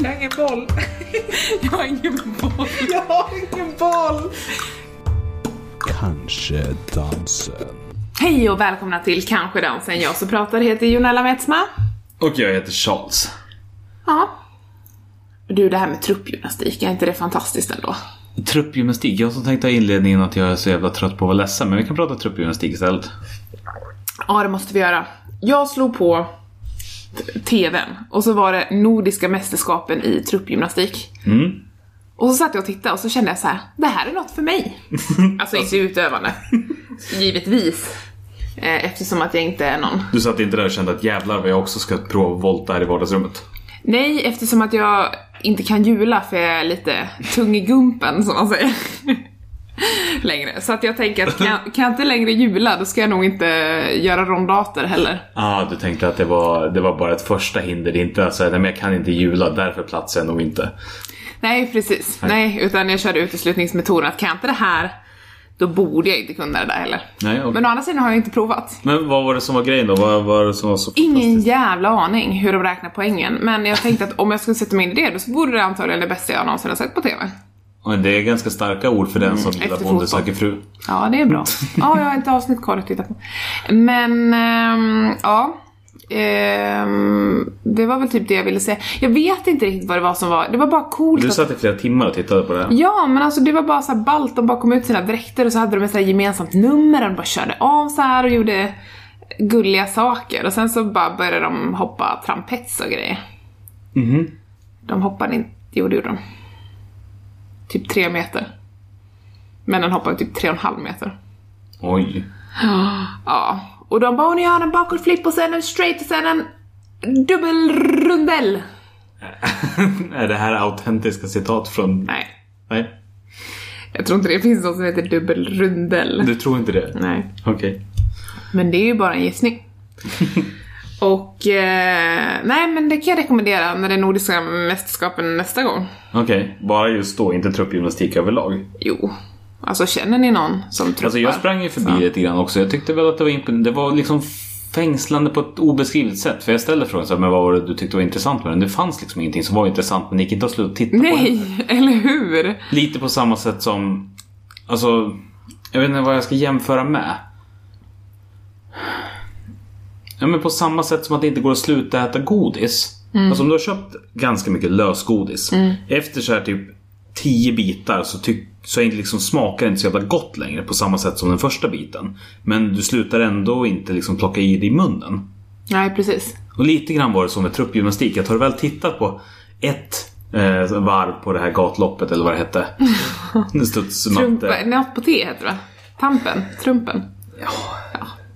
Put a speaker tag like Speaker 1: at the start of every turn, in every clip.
Speaker 1: Jag har ingen boll.
Speaker 2: Jag har ingen boll.
Speaker 1: Jag har ingen boll.
Speaker 3: Kanske dansen.
Speaker 2: Hej och välkomna till Kanske dansen. Jag som pratar heter Jonella Metsma.
Speaker 4: Och jag heter Charles.
Speaker 2: Ja. Du, det här med truppgymnastik, är inte det fantastiskt ändå?
Speaker 4: Truppgymnastik. Jag som tänkte ha inledningen att jag är så jävla trött på att vara ledsen, men vi kan prata truppgymnastik istället.
Speaker 2: Ja, det måste vi göra. Jag slog på t- TVn och så var det Nordiska mästerskapen i truppgymnastik.
Speaker 4: Mm.
Speaker 2: Och så satt jag och tittade och så kände jag så här: det här är något för mig. Alltså inte utövande, givetvis. Eh, Eftersom att jag inte är någon
Speaker 4: Du satt inte där och kände att jävlar vad jag också ska prova att volta här i vardagsrummet.
Speaker 2: Nej, eftersom att jag inte kan jula för jag är lite tung i gumpen som man säger. längre. Så att jag tänker att kan, jag- kan jag inte längre jula då ska jag nog inte göra rondater heller.
Speaker 4: Ah, du tänkte att det var, det var bara ett första hinder, det är inte alltså, nej men jag kan inte jula, därför platsar jag nog inte.
Speaker 2: Nej, precis. Nej, utan jag körde uteslutningsmetoden att kan jag inte det här då borde jag inte kunna det där heller.
Speaker 4: Nej, okej.
Speaker 2: Men å andra sidan har jag inte provat.
Speaker 4: Men vad var det som var grejen då? Vad var det som var så
Speaker 2: Ingen
Speaker 4: fantastiskt?
Speaker 2: jävla aning hur de räknar poängen, men jag tänkte att om jag skulle sätta mig in i det då vore det antagligen det bästa jag någonsin har sett på TV.
Speaker 4: Men Det är ganska starka ord för den som gillar
Speaker 2: Mm. efter
Speaker 4: Bonde
Speaker 2: fotboll.
Speaker 4: söker fru.
Speaker 2: Ja, det är bra. Ja, jag har inte avsnitt kvar att titta på. Men, ehm, ja. Ehm, det var väl typ det jag ville säga. Jag vet inte riktigt vad det var som var. Det var bara coolt.
Speaker 4: Du
Speaker 2: att-
Speaker 4: satt i flera timmar och tittade på det. här.
Speaker 2: Ja, men alltså det var bara så här ballt. De bara kom ut i sina dräkter och så hade de ett så här gemensamt nummer och de bara körde av så här och gjorde gulliga saker. Och sen så bara började de hoppa trampets och grejer. De hoppade inte... Jo, det gjorde de. Typ tre meter. Men den hoppade typ tre och en halv meter.
Speaker 4: Oj.
Speaker 2: Ja, och de bara "Åh, ni gör en bakåtflipp och sen en straight och sen en dubbelrundell.
Speaker 4: är det här autentiska citat från...
Speaker 2: Nej,
Speaker 4: Nej.
Speaker 2: jag tror inte det finns något som heter dubbelrundell.
Speaker 4: Du tror inte det?
Speaker 2: Nej,
Speaker 4: Okej.
Speaker 2: men det är ju bara en gissning. och eh, nej, men det kan jag rekommendera när det är nordiska mästerskapen nästa gång.
Speaker 4: Okej, bara just då, inte truppgymnastik överlag.
Speaker 2: Jo, alltså känner ni någon som truppar?
Speaker 4: Alltså jag sprang ju förbi
Speaker 2: Ja.
Speaker 4: lite grann också. Jag tyckte väl att det var imponerande. Det var liksom fängslande på ett obeskrivligt sätt. För jag ställde frågan så här, men vad var det du tyckte var intressant med den? Det fanns liksom ingenting som var intressant men det gick inte att sluta titta på den.
Speaker 2: Nej, eller hur?
Speaker 4: Lite på samma sätt som, alltså, jag vet inte vad jag ska jämföra med. Ja men på samma sätt som att det inte går att sluta äta godis. Alltså om du har köpt ganska mycket lösgodis. Efter så här typ 10 bitar så, tyck, så är det liksom, smakar det inte så jävla gott längre på samma sätt som den första biten. Men du slutar ändå inte liksom plocka i det i munnen.
Speaker 2: Nej, precis.
Speaker 4: Och lite grann var det som med truppgymnastik. Jag har väl tittat på ett eh, varv på det här gatloppet eller vad det hette. En
Speaker 2: Trumpa,
Speaker 4: Studsmatte.
Speaker 2: något på T heter det va? Tampen? Trumpen?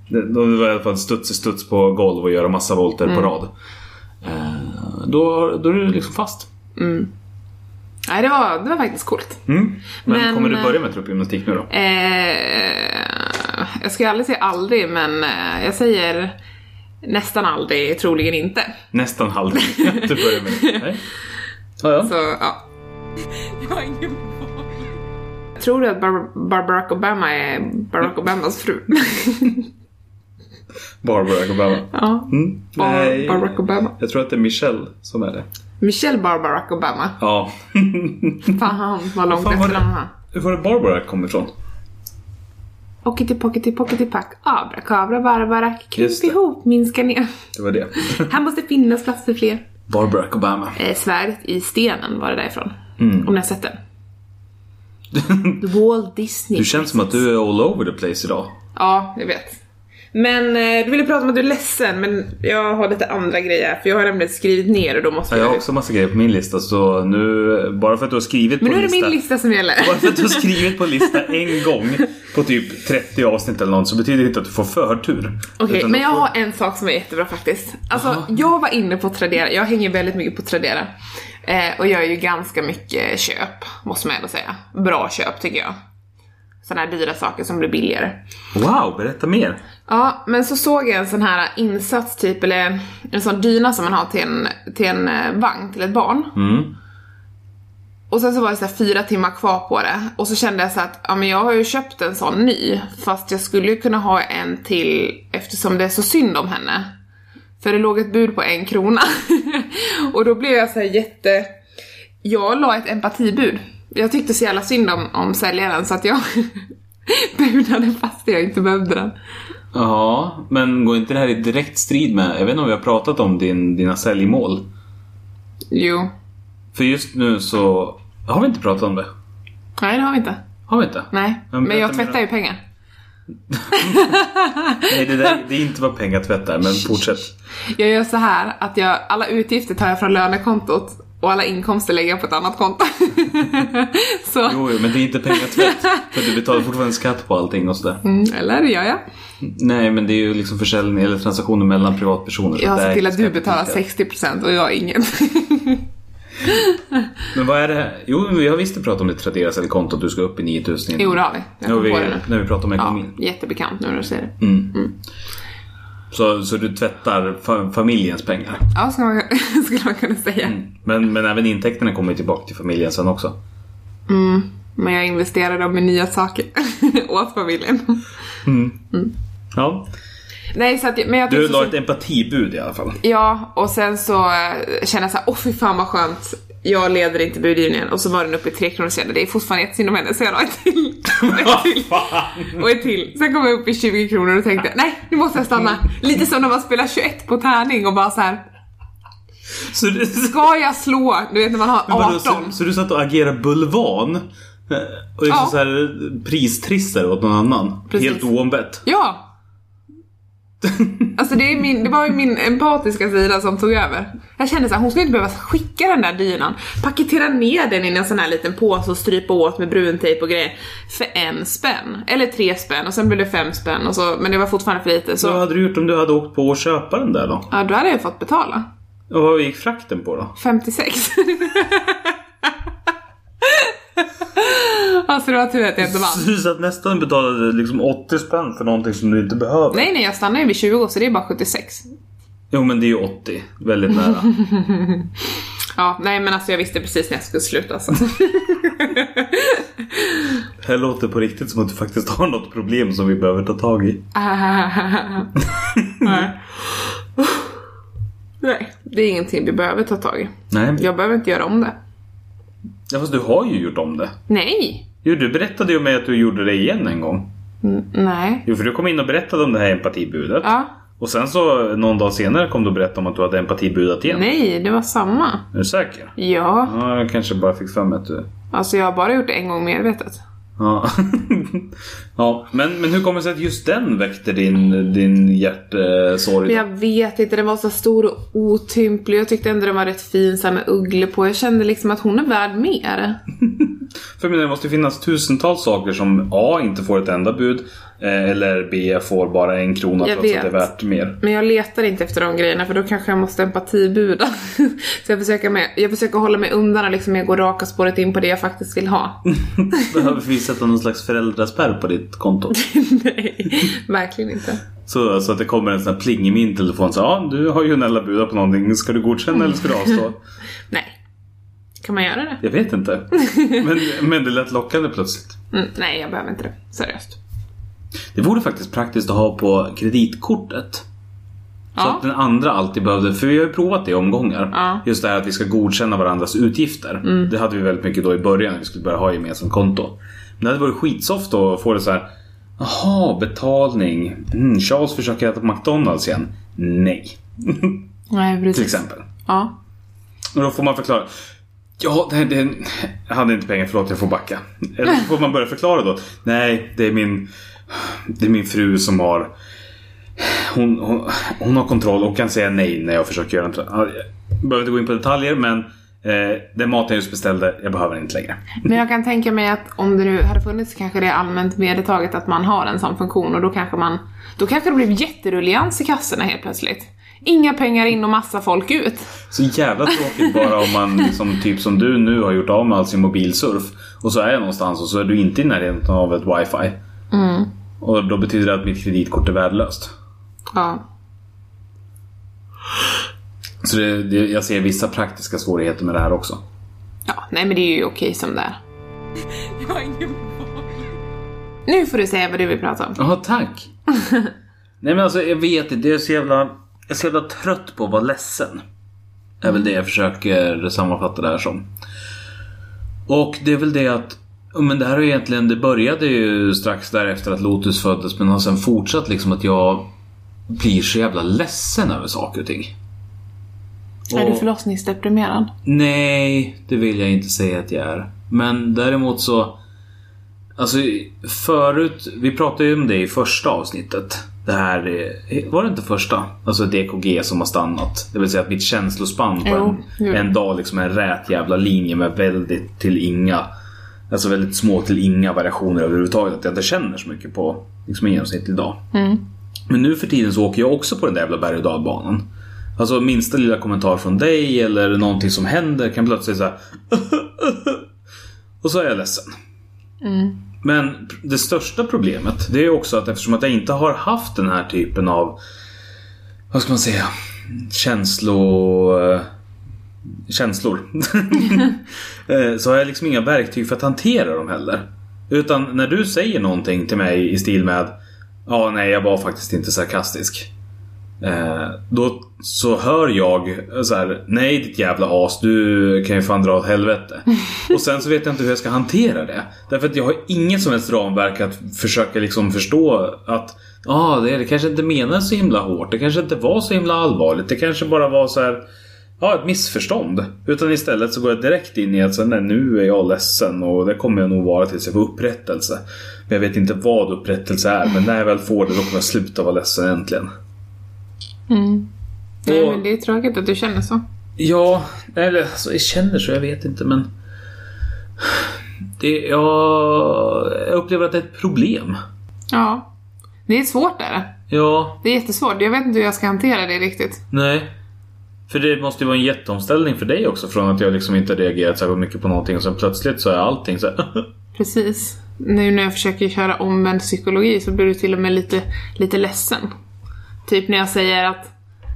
Speaker 4: Det det var i alla fall studs i studs på golv och göra massa volter
Speaker 2: Mm.
Speaker 4: på rad. Eh, då, då är du liksom fast.
Speaker 2: Nej, det var, det var faktiskt coolt.
Speaker 4: Mm. Men,
Speaker 2: Men,
Speaker 4: kommer du
Speaker 2: eh,
Speaker 4: börja med truppgymnastik nu då?
Speaker 2: Eh, jag ska aldrig säga aldrig, men eh, jag säger nästan aldrig, troligen inte.
Speaker 4: Nästan halv. du börjar med det. Nej. Ja, ja.
Speaker 2: Så, ja. Jag har ingen Tror du att Bar- Bar- Barack Obama är Barack Obamas fru?
Speaker 4: Barbara Obama.
Speaker 2: ja.
Speaker 4: Mm.
Speaker 2: Bar- Barack Obama.
Speaker 4: Jag tror att det är Michelle som är det.
Speaker 2: Michelle Bar Barack Obama.
Speaker 4: Ja.
Speaker 2: Fan vad långt
Speaker 4: Fan, vad
Speaker 2: efter
Speaker 4: det-
Speaker 2: de här.
Speaker 4: Hur var det Barbara kom ifrån?
Speaker 2: Ockity pockety pockety pack. Abrakabra barbarak.
Speaker 4: Just
Speaker 2: Kryp
Speaker 4: det.
Speaker 2: ihop, minska ner.
Speaker 4: Det var det.
Speaker 2: Här måste finnas plats för fler.
Speaker 4: Barbara Obama.
Speaker 2: Eh, svärdet i stenen var det därifrån.
Speaker 4: Mm.
Speaker 2: Om ni har sett den. The Walt Disney.
Speaker 4: Du känns som att du är all over the place idag.
Speaker 2: Ja, jag vet. Men eh, du ville prata om att du är ledsen, men jag har lite andra grejer. För jag har nämligen skrivit ner och då måste
Speaker 4: Jag
Speaker 2: jag...
Speaker 4: har också massa grejer på min lista så nu, bara för att du har skrivit
Speaker 2: men
Speaker 4: på
Speaker 2: nu är det
Speaker 4: en lista.
Speaker 2: min lista som gäller.
Speaker 4: Bara för att du har skrivit på en lista en gång på typ 30 avsnitt eller något så betyder det inte att du får förtur.
Speaker 2: Okej,
Speaker 4: Utan
Speaker 2: men
Speaker 4: du
Speaker 2: jag
Speaker 4: får-
Speaker 2: har en sak som är jättebra faktiskt. Alltså, jag var inne på Tradera, jag hänger väldigt mycket på Tradera. Eh, och jag är ju ganska mycket köp, måste man ändå säga. Bra köp tycker jag. Sådana här dyra saker som blir billigare.
Speaker 4: Wow, berätta mer.
Speaker 2: Ja, men så såg jag en sån här insats typ, eller en sån dyna som man har till en, till en eh, vagn, till ett barn.
Speaker 4: Mm.
Speaker 2: Och sen så var det så här fyra timmar kvar på det. Och så kände jag så att, ja men jag har ju köpt en sån ny. Fast jag skulle ju kunna ha en till eftersom det är så synd om henne. För det låg ett bud på en krona. och då blev jag så här jätte... Jag la ett empatibud. Jag tyckte så jävla synd om, om säljaren så att jag budade fast jag inte behövde den.
Speaker 4: Ja, men går inte det här i direkt strid med, jag vet inte om vi har pratat om din, dina säljmål?
Speaker 2: Jo.
Speaker 4: För just nu så, har vi inte pratat om det?
Speaker 2: Nej, det har vi inte.
Speaker 4: Har vi inte?
Speaker 2: Nej.
Speaker 4: Men
Speaker 2: Men jag
Speaker 4: berätta mer
Speaker 2: tvättar ju pengar.
Speaker 4: Nej, det, där, det är inte vad pengar tvättar, men fortsätt.
Speaker 2: Jag gör så här att jag, alla utgifter tar jag från lönekontot och alla inkomster lägger jag på ett annat konto. så,
Speaker 4: Jo, jo, men det är inte pengatvätt. För du betalar fortfarande skatt på allting och sådär.
Speaker 2: mm, eller det gör jag.
Speaker 4: Nej, men det är ju liksom försäljning eller transaktioner mellan privatpersoner. så
Speaker 2: Jag har
Speaker 4: det
Speaker 2: sett
Speaker 4: är
Speaker 2: till att du
Speaker 4: skatt-
Speaker 2: betalar 60% och jag inget.
Speaker 4: Men vad är det här? Jo, vi har visst pratat om det Tradera säljkontot. Du ska upp i 9000
Speaker 2: Jo, det har vi. Jag
Speaker 4: när
Speaker 2: kom
Speaker 4: vi,
Speaker 2: på det nu.
Speaker 4: när vi pratar om
Speaker 2: Ja,
Speaker 4: ekonomin.
Speaker 2: jättebekant nu när du säger det.
Speaker 4: Mm. Så, så du tvättar fa- familjens pengar.
Speaker 2: Ja, skulle man, skulle man kunna säga.
Speaker 4: Men, men även intäkterna kommer ju tillbaka till familjen sen också.
Speaker 2: Men jag investerar dem i nya saker åt familjen.
Speaker 4: Ja.
Speaker 2: Nej, så att, jag- men jag
Speaker 4: Du
Speaker 2: tyckte
Speaker 4: la
Speaker 2: Alltså, så-
Speaker 4: ett empatibud i alla fall.
Speaker 2: Ja, och sen så eh, kände jag såhär, åh fy fan vad skönt. Jag leder inte budgivningen och så var den uppe i 3 kronor sedan. Det är fortfarande jättesynd om henne så jag la ett till. Och ett till. och ett till. Sen kom jag upp i 20 kronor och tänkte, nej nu måste jag stanna. Lite som när man spelar 21 på tärning och bara så här.
Speaker 4: Så du,
Speaker 2: ska jag slå? Du vet när man har
Speaker 4: vadå,
Speaker 2: 18.
Speaker 4: så, så du satt och agerade bulvan eh, och liksom
Speaker 2: Ja.
Speaker 4: så här pristrissar åt någon annan.
Speaker 2: Precis.
Speaker 4: Helt oombett.
Speaker 2: Ja! Alltså det, är min, det var ju min empatiska sida som tog över. Jag kände såhär, hon skulle inte behöva skicka den där dynan, paketera ner den i en sån här liten påse och strypa åt med bruntejp och grejer för en spänn. Eller tre spänn och sen blev det fem spänn och så, men det var fortfarande för lite
Speaker 4: Vad
Speaker 2: så
Speaker 4: hade du gjort om du hade åkt på och köpa den där då?
Speaker 2: ja, då hade jag fått betala.
Speaker 4: Och vad gick frakten på då?
Speaker 2: 56. alltså det var tur att jag inte vann.
Speaker 4: Så du satt nästan betalade liksom 80 spänn för någonting som du inte behöver.
Speaker 2: Nej nej, jag stannade ju vid 20 så det är bara 76.
Speaker 4: Jo men det är ju 80. Väldigt nära.
Speaker 2: Ja, nej men alltså jag visste precis när jag skulle sluta så.
Speaker 4: Det här låter på riktigt som att du faktiskt har något problem som vi behöver ta tag i.
Speaker 2: Ah. Nej. Nej, det är ingenting vi behöver ta tag i.
Speaker 4: Nej. Ja.
Speaker 2: Jag behöver inte göra om det.
Speaker 4: fast du har ju gjort om det.
Speaker 2: Nej!
Speaker 4: Jo, du berättade ju om mig att du gjorde det igen en gång.
Speaker 2: N- nej.
Speaker 4: Jo, för du kom in och berättade om det här empatibudet.
Speaker 2: Ja.
Speaker 4: Och sen så någon dag senare kom du och berättade om att du hade empatibudat igen.
Speaker 2: Nej, det var samma.
Speaker 4: Är du säker?
Speaker 2: Ja,
Speaker 4: Ja, jag kanske bara fick för mig att du...
Speaker 2: alltså jag har bara gjort det en gång medvetet.
Speaker 4: Ja. ja. Men, men hur kommer det sig att just den väckte din, din eh, hjärtesorg?
Speaker 2: Men jag vet inte, den var så stor och otymplig. Jag tyckte ändå den var rätt fin så här med ugglor på. Jag kände liksom att hon är värd mer.
Speaker 4: För jag menar, det måste ju finnas tusentals saker som A. Inte får ett enda bud. eh, Eller B. Får bara en krona
Speaker 2: Jag
Speaker 4: trots att det är
Speaker 2: vet.
Speaker 4: värt mer.
Speaker 2: Men jag letar inte efter de grejerna för då kanske jag måste empatibuda. Så jag försöker, med, jag försöker hålla mig undan och liksom jag går raka spåret in på det jag faktiskt vill ha.
Speaker 4: Behöver vi sätta någon slags föräldraspärr på ditt konto?
Speaker 2: Nej, verkligen inte.
Speaker 4: Så, så att det kommer en sån här pling i min telefon. Så, ja, du har ju Nella budat på någonting. Ska du
Speaker 2: Mm.
Speaker 4: godkänna eller ska du avstå?
Speaker 2: Nej. Kan man göra det?
Speaker 4: Jag vet inte. Men, men det lät lockande plötsligt.
Speaker 2: Mm, nej, jag behöver inte det. Seriöst.
Speaker 4: Det vore faktiskt praktiskt att ha på kreditkortet. Så
Speaker 2: Ja.
Speaker 4: att den andra alltid behövde, för vi har ju provat det i omgångar.
Speaker 2: Ja. Mm.
Speaker 4: Just det här att vi ska godkänna varandras utgifter. Det hade vi väldigt mycket då i början när vi skulle börja ha gemensamt konto. Men det hade varit skitsoft att få det så här. Jaha, betalning. Mm, Charles försöker äta på McDonalds igen. Nej,
Speaker 2: Nej, precis.
Speaker 4: till exempel.
Speaker 2: Ja.
Speaker 4: Och då får man förklara. Ja, det, det, jag hade inte pengar, förlåt jag får backa. Eller så får man börja förklara då. Nej, det är min, det är min fru som har hon, hon, hon har kontroll och kan säga nej när jag försöker göra en tra- Ja, Jag behöver inte gå in på detaljer men eh, den maten jag just beställde, jag behöver den inte längre.
Speaker 2: Men jag kan tänka mig att om det nu hade funnits så kanske det är allmänt vedertaget att man har en sån funktion och då kanske man... Då kanske det blev jätterullians i kassorna helt plötsligt. Inga pengar in och massa folk ut.
Speaker 4: Så jävla tråkigt bara om man liksom, typ som du nu har gjort av med all sin mobilsurf och så är jag någonstans och så är du inte i närheten av ett wifi. Och då betyder det att mitt kreditkort är värdelöst.
Speaker 2: Ja.
Speaker 4: Så det, det, jag ser vissa praktiska svårigheter med det här också.
Speaker 2: Ja, nej men det är ju okej som det är. Nu får du säga vad du vill prata om.
Speaker 4: Jaha, tack! Nej men alltså jag vet inte, det är så jävla... jag är så jävla trött på att vara ledsen. är väl det jag försöker sammanfatta det här som. Och det är väl det att ja, men det här är ju egentligen, det började ju strax därefter att Lotus föddes men har sen fortsatt liksom att jag blir så jävla ledsen över saker och ting.
Speaker 2: Är du
Speaker 4: Och-
Speaker 2: förlossningsdeprimerad?
Speaker 4: Nej, det vill jag inte säga att jag är. Men däremot så... Alltså förut, vi pratade ju om det i första avsnittet. Det här, eh, var det inte första? Alltså ett EKG som har stannat. Det vill säga att mitt känslospann på
Speaker 2: Jo,
Speaker 4: en,
Speaker 2: jo.
Speaker 4: en dag liksom är en rät jävla linje med väldigt till inga Alltså väldigt små till inga variationer överhuvudtaget. Att jag inte känner så mycket på liksom, en genomsnittlig dag. Men nu för tiden så åker jag också på den där jävla berg och dalbanan. Alltså minsta lilla kommentar från dig eller någonting som händer kan plötsligt säga Och så är jag ledsen. Men det största problemet det är också att eftersom att jag inte har haft den här typen av vad ska man säga känslo... eh, känslor. Eh, så har jag liksom inga verktyg för att hantera dem heller. Utan när du säger någonting till mig i stil med Ja, nej, jag var faktiskt inte sarkastisk. Eh, då så hör jag så här, nej ditt jävla as, du kan ju fan dra åt helvete. Och sen så vet jag inte hur jag ska hantera det. Därför att jag har inget som helst ramverk att försöka liksom förstå att ah, det, det kanske inte menades så himla hårt, det kanske inte var så himla allvarligt, det kanske bara var så här Ja, ett missförstånd. Utan istället så går jag direkt in i att så, nej, nu är jag ledsen och det kommer jag nog vara tills jag får upprättelse. Men jag vet inte vad upprättelse är, men när jag väl får det då kommer jag sluta vara ledsen äntligen.
Speaker 2: Nej,
Speaker 4: Och-
Speaker 2: men det är tråkigt att du känner så.
Speaker 4: Ja, eller alltså, jag känner så, jag vet inte men... Det, jag, jag upplever att det är ett problem.
Speaker 2: Ja. Det är svårt är det.
Speaker 4: Ja,
Speaker 2: Det är jättesvårt. Jag vet inte hur jag ska hantera det riktigt.
Speaker 4: nej. För det måste ju vara en jätteomställning för dig också från att jag liksom inte reagerat särskilt mycket på någonting och sen plötsligt så är allting så här.
Speaker 2: Precis. Nu när jag försöker köra omvänd psykologi så blir du till och med lite, lite ledsen. Typ när jag säger att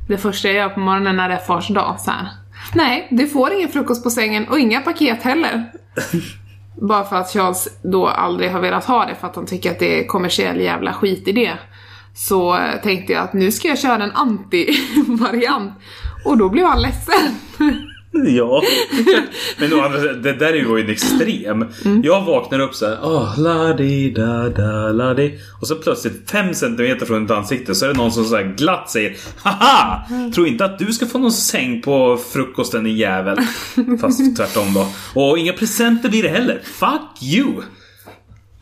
Speaker 2: det första jag gör på morgonen när det är fars dag så här. Nej, du får ingen frukost på sängen och inga paket heller. Bara för att Charles då aldrig har velat ha det för att han tycker att det är kommersiell jävla skitidé. Så eh, tänkte jag att nu ska jag köra en anti-variant. Och då blev han ledsen.
Speaker 4: Ja. Men å andra sidan, det där är ju en extrem.
Speaker 2: Mm.
Speaker 4: Jag vaknar upp såhär, oh, la di da da la di. Och så plötsligt fem centimeter från mitt ansikte så är det någon som så här glatt säger Haha!
Speaker 2: Mm.
Speaker 4: Tror inte att du ska få någon säng på frukosten din jävel. Fast tvärtom då. Och inga presenter blir det heller. Fuck you!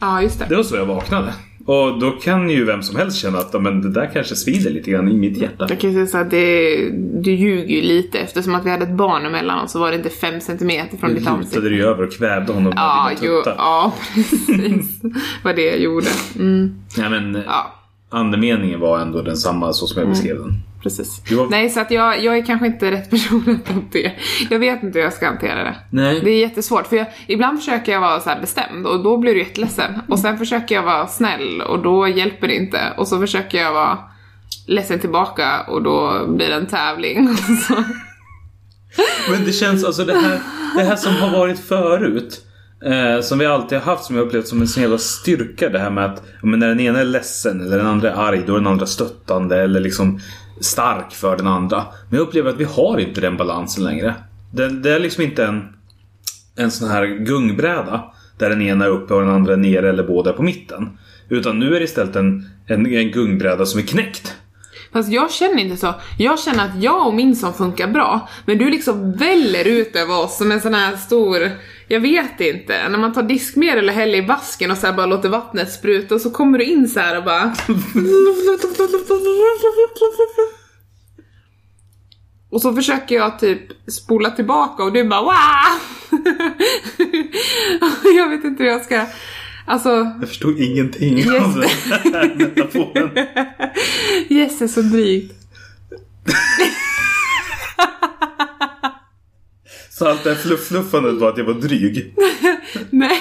Speaker 2: Ja, just det.
Speaker 4: Det var så jag vaknade. Och då kan ju vem som helst känna att "Ja, men det där kanske svider lite grann i mitt hjärta.
Speaker 2: Jag kan ju säga så att det, du ljuger ju lite eftersom att vi hade ett barn emellan oss så var det inte fem centimeter från
Speaker 4: Nu
Speaker 2: ditt ansikte.
Speaker 4: lutade du ju över och kvävde honom med
Speaker 2: Ja,
Speaker 4: dina
Speaker 2: jo,
Speaker 4: tuttar.
Speaker 2: ja, precis. Vad det jag gjorde. Mm,
Speaker 4: Nej, men,
Speaker 2: ja,
Speaker 4: andemeningen var ändå densamma så som jag beskrev den.
Speaker 2: precis.
Speaker 4: Du var-
Speaker 2: Nej, så att jag, jag är kanske inte rätt person att hantera. Jag vet inte hur jag ska hantera det.
Speaker 4: Nej.
Speaker 2: Det är jättesvårt, för jag, ibland försöker jag vara så här bestämd och då blir du jätteledsen. Och sen försöker jag vara snäll och då hjälper det inte. Och så försöker jag vara ledsen tillbaka och då blir det en tävling. Och så.
Speaker 4: Men det känns alltså det här, det här som har varit förut. Eh, som vi alltid har haft som jag upplevt som en sån jävla styrka det här med att ja, men när den ena är ledsen eller den andra är arg då är den andra stöttande eller liksom stark för den andra. Men jag upplever att vi har inte den balansen längre. Det, det är liksom inte en, en sån här gungbräda där den ena är uppe och den andra är nere eller båda är på mitten. Utan nu är det istället en, en, en gungbräda som är knäckt.
Speaker 2: Fast jag känner inte så. Jag känner att jag och min som funkar bra, men du liksom väller ut över oss som en sån här stor, jag vet inte, när man tar diskmedel eller häller i vasken och så här bara låter vattnet spruta och så kommer du in så här och bara... Och så försöker jag typ spola tillbaka och du bara wow! Jag vet inte hur jag ska... Alltså,
Speaker 4: Jag förstod ingenting av den här metaforen.
Speaker 2: Jess är så drygt.
Speaker 4: Så allt det här flufffluffandet var att jag var dryg.
Speaker 2: Nej.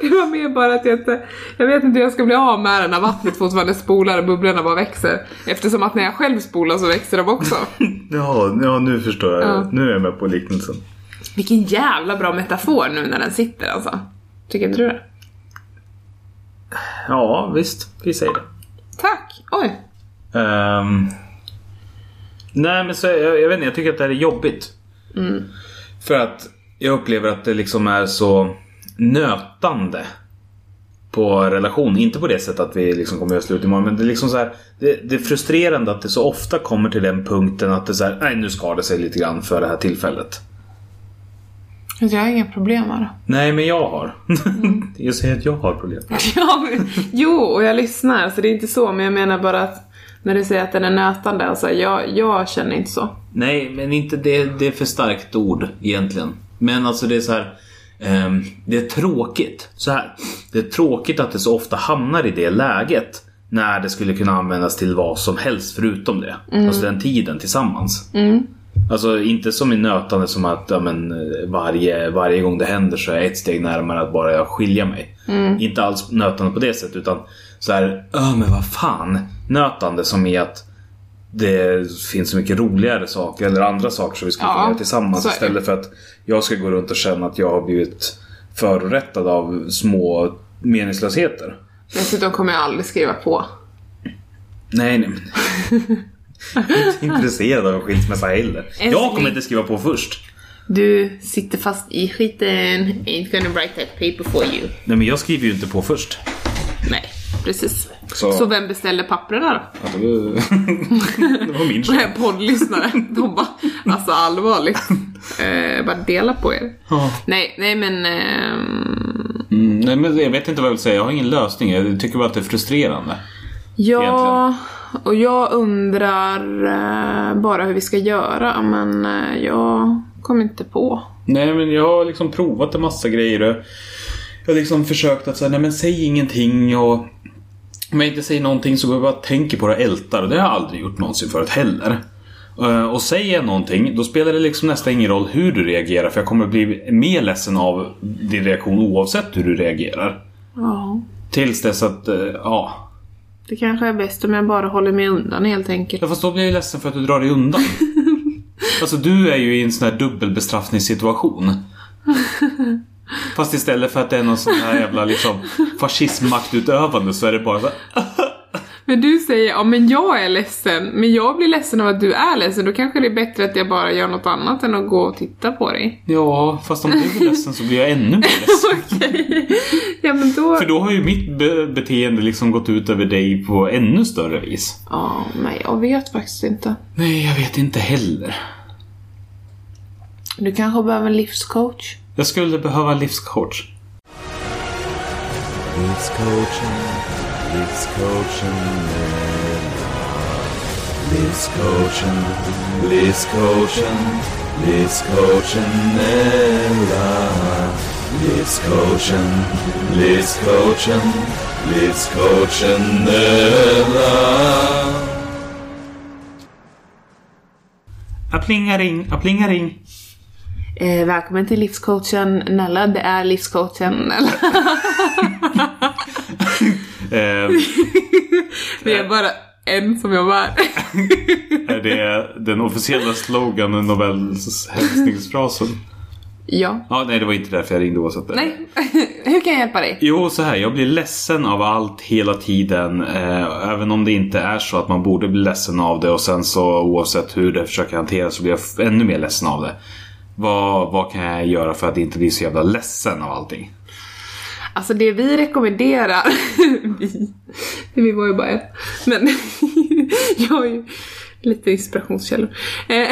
Speaker 2: Det var mer bara att jag inte... Jag vet inte hur jag ska bli av med den när vattnet fortfarande spolar och bubblorna bara växer. Eftersom att när jag själv spolar så växer de också.
Speaker 4: Ja, ja nu förstår jag.
Speaker 2: Ja.
Speaker 4: Nu är jag med på liknelsen.
Speaker 2: Vilken jävla bra metafor nu när den sitter alltså. Tycker inte du det?
Speaker 4: Ja, visst. Vi säger det.
Speaker 2: Tack! Oj.
Speaker 4: Ehm, nej men så, jag, jag vet inte, jag tycker att det här är jobbigt. För att jag upplever att det liksom är så nötande på relation. Inte på det sättet att vi liksom kommer göra slut imorgon men det är liksom så här, det, det är frustrerande att det så ofta kommer till den punkten att det är så här, nej nu skar det sig lite grann för det här tillfället.
Speaker 2: Fast Alltså, Jag har inga problem med det.
Speaker 4: Nej men jag har. jag säger att jag har problem.
Speaker 2: Ja, men, jo, och jag lyssnar så det är inte så, men jag menar bara att när du säger att den är nötande, alltså jag, jag känner inte så.
Speaker 4: Nej, men inte det, det är för starkt ord egentligen. Men alltså det är så här. ehm, det är tråkigt. Så här. Det är tråkigt att det så ofta hamnar i det läget. När det skulle kunna användas till vad som helst förutom det. Alltså den tiden tillsammans. Alltså inte som i nötande som att ja, men, eh, varje, varje gång det händer så är jag ett steg närmare att bara jag skilja mig.
Speaker 2: Mm.
Speaker 4: Inte alls nötande på det sättet utan så här, "Öh, men vad fan. Nötande som i att det finns så mycket roligare saker eller andra saker som vi skulle kunna
Speaker 2: Ja,
Speaker 4: göra tillsammans
Speaker 2: så är det.
Speaker 4: istället för att jag ska gå runt och känna att jag har blivit förorättad av små meningslösheter.
Speaker 2: Dessutom kommer jag aldrig skriva på.
Speaker 4: Nej, nej. men- Jag är inte intresserad av en skilsmässa heller. Jag kommer inte skriva på först.
Speaker 2: Du sitter fast i skiten, ain't gonna write that paper for you.
Speaker 4: Nej men jag skriver ju inte på först.
Speaker 2: Nej, precis.
Speaker 4: Så-
Speaker 2: Så, vem beställer papperna då?
Speaker 4: Ja, det var- det var min
Speaker 2: Den
Speaker 4: skyld.
Speaker 2: här poddlyssnaren, de bara, alltså allvarligt. Eh, bara dela på er.
Speaker 4: Ja.
Speaker 2: Nej, nej men... ehm,
Speaker 4: Mm, nej men jag vet inte vad jag vill säga. Jag har ingen lösning. Jag tycker bara att det är frustrerande.
Speaker 2: Ja,
Speaker 4: Egentligen.
Speaker 2: och jag undrar eh, bara hur vi ska göra, men eh, jag kom inte på.
Speaker 4: Nej men jag har liksom provat en massa grejer. och Jag har liksom försökt att säga nej men säg ingenting och om jag inte säger någonting så går jag bara och tänker på det och ältar och det har jag aldrig gjort någonsin förut heller. Eh, Och säger jag någonting då spelar det liksom nästan ingen roll hur du reagerar för jag kommer bli mer ledsen av din reaktion oavsett hur du reagerar.
Speaker 2: Ja,
Speaker 4: Tills dess att, eh, ja.
Speaker 2: det kanske är bäst om jag bara håller mig undan helt enkelt.
Speaker 4: Ja fast då blir jag ju ledsen för att du drar dig undan. alltså du är ju i en sån här dubbelbestraffningssituation. Fast istället för att det är någon sån här jävla liksom fascismmaktutövande så är det bara så här,
Speaker 2: Men du säger, ja men jag är ledsen, men jag blir ledsen av att du är ledsen, då kanske det är bättre att jag bara gör något annat än att gå och titta på dig.
Speaker 4: Ja fast om du blir ledsen så blir jag ännu mer ledsen.
Speaker 2: Okej. Ja men då...
Speaker 4: För då har ju mitt be- beteende liksom gått ut över dig på ännu större vis.
Speaker 2: Ja, nej jag vet faktiskt inte.
Speaker 4: Nej jag vet inte heller.
Speaker 2: Du kanske behöver en livscoach?
Speaker 4: Jag skulle behöva en livscoach.
Speaker 3: Livscoachen, Livscoachen, eh, Livscoachen, Livscoachen, Livscoachen, eh, Livscoachen, Livscoachen, Livscoachen,
Speaker 4: Aplingaring, aplingaring.
Speaker 2: Eh, välkommen till livscoachen Nella, det är livscoachen Nella.
Speaker 4: Eh,
Speaker 2: Vi är bara en som jobbar.
Speaker 4: är det den officiella sloganen, Nobels hälsningsfrasen?
Speaker 2: ja.
Speaker 4: Ja, nej det var inte därför jag ringde oavsett det.
Speaker 2: Nej, hur kan jag hjälpa dig?
Speaker 4: Jo, så här. Jag blir ledsen av allt hela tiden. Eh, även om det inte är så att man borde bli ledsen av det. Och sen så oavsett hur det försöker hanteras så blir jag f- ännu mer ledsen av det. Vad, vad kan jag göra för att inte bli så jävla ledsen av allting?
Speaker 2: Alltså det vi rekommenderar, vi, vi var ju bara en, men jag är ju lite inspirationskällor. Eh,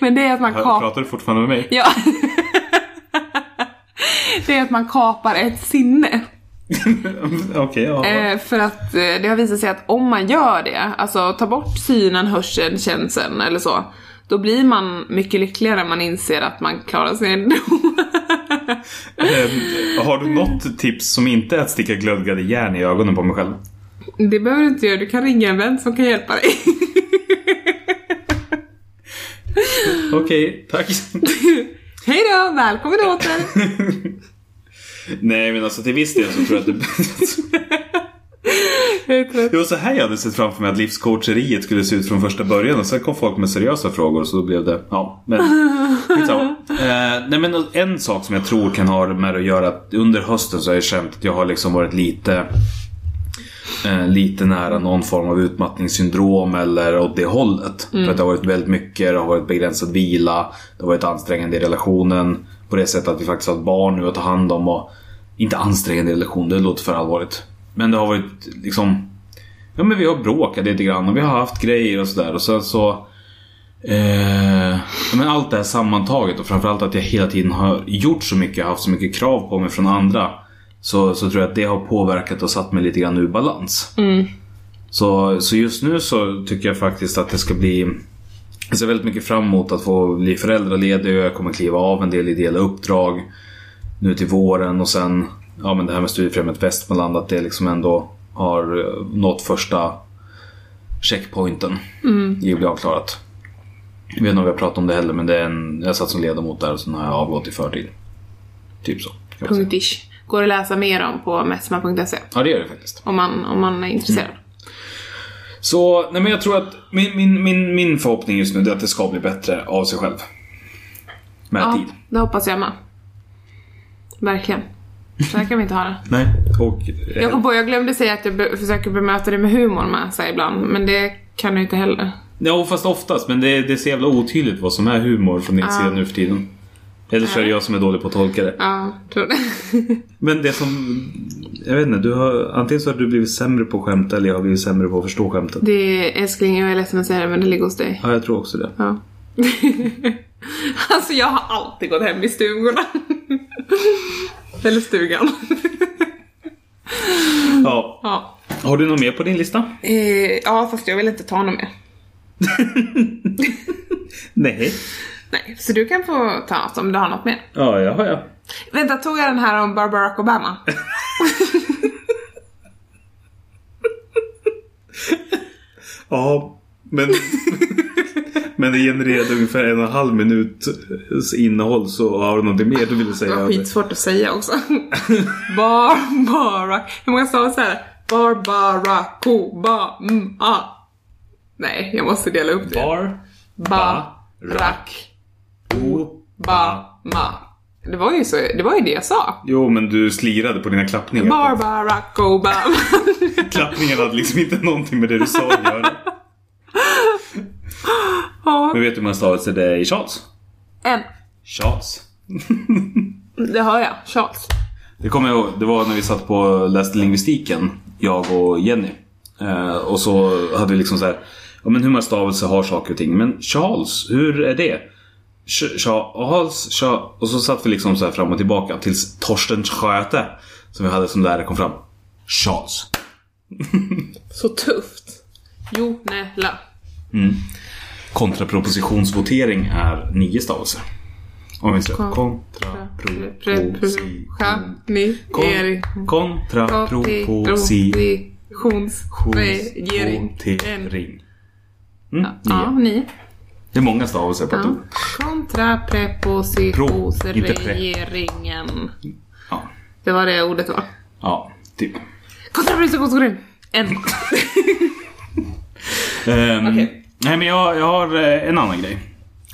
Speaker 2: men det är att man
Speaker 4: Hör,
Speaker 2: kapar,
Speaker 4: Pratar du fortfarande med mig?
Speaker 2: ja. det är att man kapar ett sinne.
Speaker 4: Okej, ja.
Speaker 2: Eh, för att eh, det har visat sig att om man gör det, alltså tar bort synen, hörseln, känseln eller så, då blir man mycket lyckligare när man inser att man klarar sig ändå.
Speaker 4: Eh, har du något tips som inte är att sticka glödgade järn i ögonen på mig själv?
Speaker 2: Det behöver du inte göra, du kan ringa en vän som kan hjälpa dig.
Speaker 4: Okej, tack.
Speaker 2: Hej då, välkommen åter!
Speaker 4: nej, men alltså till viss del så tror jag att det...
Speaker 2: Jag är trött.
Speaker 4: Det var så här jag hade sett framför mig att livscoacheriet skulle se ut från första början och sen kom folk med seriösa frågor så då blev det, ja, men skitsamma. eh, Nej men en sak som jag tror kan ha med det att göra att under hösten så har jag känt att jag har liksom varit lite eh, lite nära någon form av utmattningssyndrom eller åt det hållet. För att det har varit väldigt mycket, det har varit begränsad vila, det har varit ansträngande i relationen. På det sättet att vi faktiskt har ett barn nu att ta hand om. Och, inte ansträngande i relation, det låter för allvarligt. Men det har varit liksom... Ja men vi har bråkat lite grann och vi har haft grejer och sådär. Och sen så... Eh, ja, men allt det här sammantaget och framförallt att jag hela tiden har gjort så mycket, haft så mycket krav på mig från andra. Så, så tror jag att det har påverkat och satt mig lite grann ur balans. Så, så just nu så tycker jag faktiskt att det ska bli... Jag ser väldigt mycket fram emot att få bli föräldraledig och jag kommer kliva av en del ideella uppdrag nu till våren och sen ja, men det här med Studiefrämjandet Västmanland att det liksom ändå har eh, nått första checkpointen i att bli avklarat. Jag vet inte om vi har pratat om det heller men det är en, jag satt som ledamot där och sen har jag avgått i förtid. Typ så. kan man säga.
Speaker 2: Punktish. Går att läsa mer om på metsma.se
Speaker 4: Ja det gör det faktiskt.
Speaker 2: om man, om man är intresserad.
Speaker 4: Så nej, men jag tror att min, min, min, min förhoppning just nu är att det ska bli bättre av sig själv. Med
Speaker 2: Ja,
Speaker 4: tid.
Speaker 2: det hoppas jag med. Verkligen. Så här kan vi inte ha det.
Speaker 4: Nej. Och, eh,
Speaker 2: Jag kom på, jag glömde säga att jag be- försöker bemöta det med humor med så här ibland, men det kan du inte heller.
Speaker 4: ja, fast oftast. Men det, det är så jävla otydligt vad som är humor från din sida nu för tiden. Eller så är det jag som är dålig på att tolka det.
Speaker 2: Ja, tror det.
Speaker 4: Men det som... Jag vet inte. Du har, antingen så har du blivit sämre på att skämta eller jag har blivit sämre på att förstå skämtet.
Speaker 2: Det är, älskling, jag är ledsen att säga det, men det ligger hos dig.
Speaker 4: Ja, jag tror också det.
Speaker 2: Ja. alltså, jag har alltid gått hem i stugorna. Eller stugan. Mm.
Speaker 4: Ja.
Speaker 2: ja.
Speaker 4: Har du något mer på din lista?
Speaker 2: Eh, ja, fast jag vill inte ta något mer.
Speaker 4: Nej.
Speaker 2: Nej, så du kan få ta något om du har något mer.
Speaker 4: Ja, jag har jag.
Speaker 2: Vänta, tog jag den här om Barack Obama?
Speaker 4: Ja, men, men det genererade ungefär en och en halv minuts innehåll så har du någonting mer du ville
Speaker 2: Det
Speaker 4: säga?
Speaker 2: var
Speaker 4: Abbe?
Speaker 2: skitsvårt att säga också. Barbara. Hur många stavar så här? Barbara, ko, ba, mm, a. Nej, jag måste dela upp det.
Speaker 4: Bar,
Speaker 2: ba, rack,
Speaker 4: o,
Speaker 2: ba, ma. Det var ju så, det var ju det jag sa.
Speaker 4: Jo, men du slirade på dina klappningar.
Speaker 2: Barbara, ko, ba, ma.
Speaker 4: Klappningarna hade liksom inte någonting med det du sa att göra.
Speaker 2: Ja,
Speaker 4: Men vet du hur man stavelse det är i Charles?
Speaker 2: En.
Speaker 4: Charles.
Speaker 2: Det hör jag. Charles.
Speaker 4: Det kommer jag ihåg. Det var när vi satt på och läste lingvistiken, jag och Jenny. Eh, och så hade vi liksom så här, ja men hur många stavelser har saker och ting? Men Charles, hur är det? Ch- Charles, Charles. Och så satt vi liksom så här fram och tillbaka tills Torsten Sköte, som vi hade som lärare, kom fram. Charles.
Speaker 2: Så tufft. Jo, nej, la.
Speaker 4: Kontrapropositionsvotering är nio stavelser. Om jag minns rätt.
Speaker 2: Kon-
Speaker 4: Kontraproposition.
Speaker 2: Prepositionering.
Speaker 4: Kon- Kontraproposition.
Speaker 2: Kontrapropositionering.
Speaker 4: Kvotering. Mm,
Speaker 2: Ja,
Speaker 4: nio.
Speaker 2: ni.
Speaker 4: Det är många stavelser på ett
Speaker 2: Ja.
Speaker 4: ord. Pro, inte pre.
Speaker 2: Kontraprepositionsregeringen.
Speaker 4: Ja.
Speaker 2: Det var det ordet var.
Speaker 4: ja, typ.
Speaker 2: Kontraprepositionsregering. En.
Speaker 4: Ehm,
Speaker 2: Okej.
Speaker 4: Nej, men jag, jag har eh, en annan grej.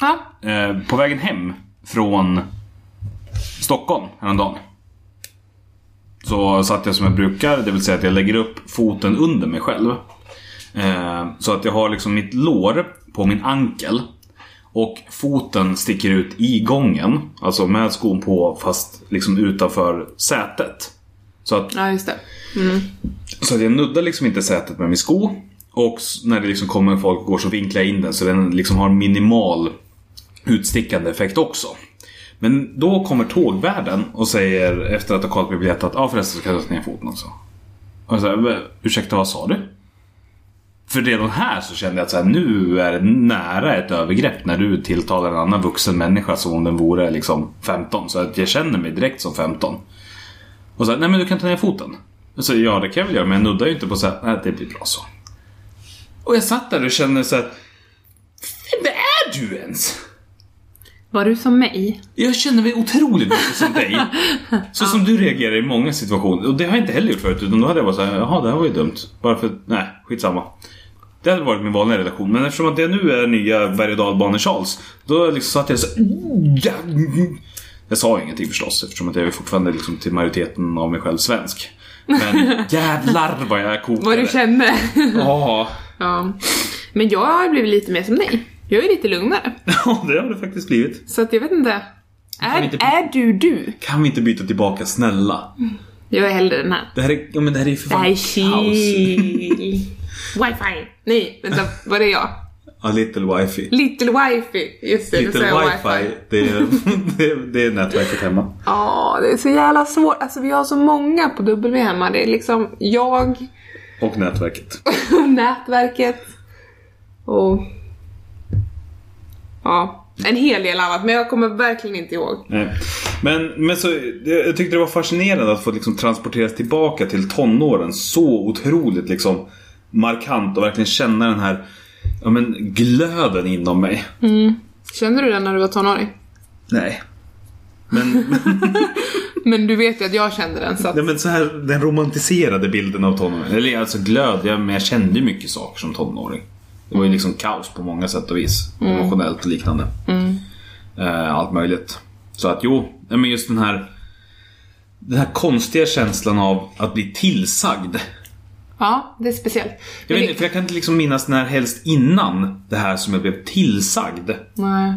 Speaker 2: Ja.
Speaker 4: Eh, på vägen hem från Stockholm häromdagen. Så satt jag som jag brukar, det vill säga att jag lägger upp foten under mig själv. Eh, så att jag har liksom mitt lår på min ankel. Och foten sticker ut i gången. Alltså med skon på fast liksom utanför sätet. Så att
Speaker 2: ja, just det.
Speaker 4: Så att jag nuddar liksom inte sätet med min sko. Och s- när det liksom kommer folk och går så vinklar jag in den så den liksom har minimal utstickande effekt också. Men då kommer tågvärden och säger efter att ha kollat min biljett att ja ah, förresten så kan jag ta ner foten också. Och jag säger ursäkta vad sa du? För redan här så kände jag att så här, nu är det nära ett övergrepp när du tilltalar en annan vuxen människa som om den vore liksom 15. Så att jag känner mig direkt som 15. Och så här, nej men du kan ta ner foten. Och så, ja det kan jag väl göra men jag nuddar ju inte på så här, nej det blir bra så. Och jag satt där och kände så här, vem är du ens?
Speaker 2: Var du som mig?
Speaker 4: Jag känner mig otroligt mycket som dig. Så som du reagerar i många situationer. Och det har jag inte heller gjort förut. Utan då hade jag bara såhär, jaha det här var ju dumt. Bara för nej skitsamma. Det hade varit min vanliga relation. Men eftersom att det nu är nya berg och dalbane-Charles. Då liksom satt jag så Jag sa ju ingenting förstås eftersom att jag är fortfarande liksom till majoriteten av mig själv svensk. Men jävlar vad jag kokade.
Speaker 2: Vad du känner.
Speaker 4: Ja,
Speaker 2: ja. Men jag har blivit lite mer som dig. Jag är lite lugnare.
Speaker 4: Ja, det har det faktiskt blivit.
Speaker 2: Så att jag vet inte. Är,
Speaker 4: vi inte-
Speaker 2: är du du?
Speaker 4: Kan vi inte byta tillbaka, snälla?
Speaker 2: Jag är hellre den här.
Speaker 4: Det här är, ja, men det här är ju för fan
Speaker 2: Nej,
Speaker 4: kaos.
Speaker 2: chill. Wifi. Nej, vänta. Vad är jag?
Speaker 4: A little wifi.
Speaker 2: Little wifi. Just det,
Speaker 4: Little
Speaker 2: du sa
Speaker 4: wifi,
Speaker 2: wifi.
Speaker 4: Det, är, det, är- det är nätverket hemma.
Speaker 2: Ja, det är så jävla svårt. Alltså vi har så många på W hemma. Det är liksom jag,
Speaker 4: Och nätverket.
Speaker 2: nätverket och... Ja, en hel del annat. Men jag kommer verkligen inte ihåg.
Speaker 4: Nej. Men, men så, det- jag tyckte det var fascinerande att få liksom transporteras tillbaka till tonåren så otroligt liksom markant och verkligen känna den här ja, men, glöden inom mig.
Speaker 2: Kände du det när du var tonåring?
Speaker 4: Nej. Men,
Speaker 2: Men du vet ju att jag kände den så att...
Speaker 4: nej, men så här, den romantiserade bilden av tonåren. Eller alltså glöd, jag, men jag kände ju mycket saker som tonåring. Det var ju liksom kaos på många sätt och vis.
Speaker 2: Mm.
Speaker 4: Emotionellt och liknande. Eh, allt möjligt. Så att jo, nej, men just den här den här konstiga känslan av att bli tillsagd.
Speaker 2: Ja, det är speciellt. Men
Speaker 4: Jag, vet,
Speaker 2: det-
Speaker 4: inte, för jag kan inte liksom minnas när helst innan det här som jag blev tillsagd.
Speaker 2: Nej.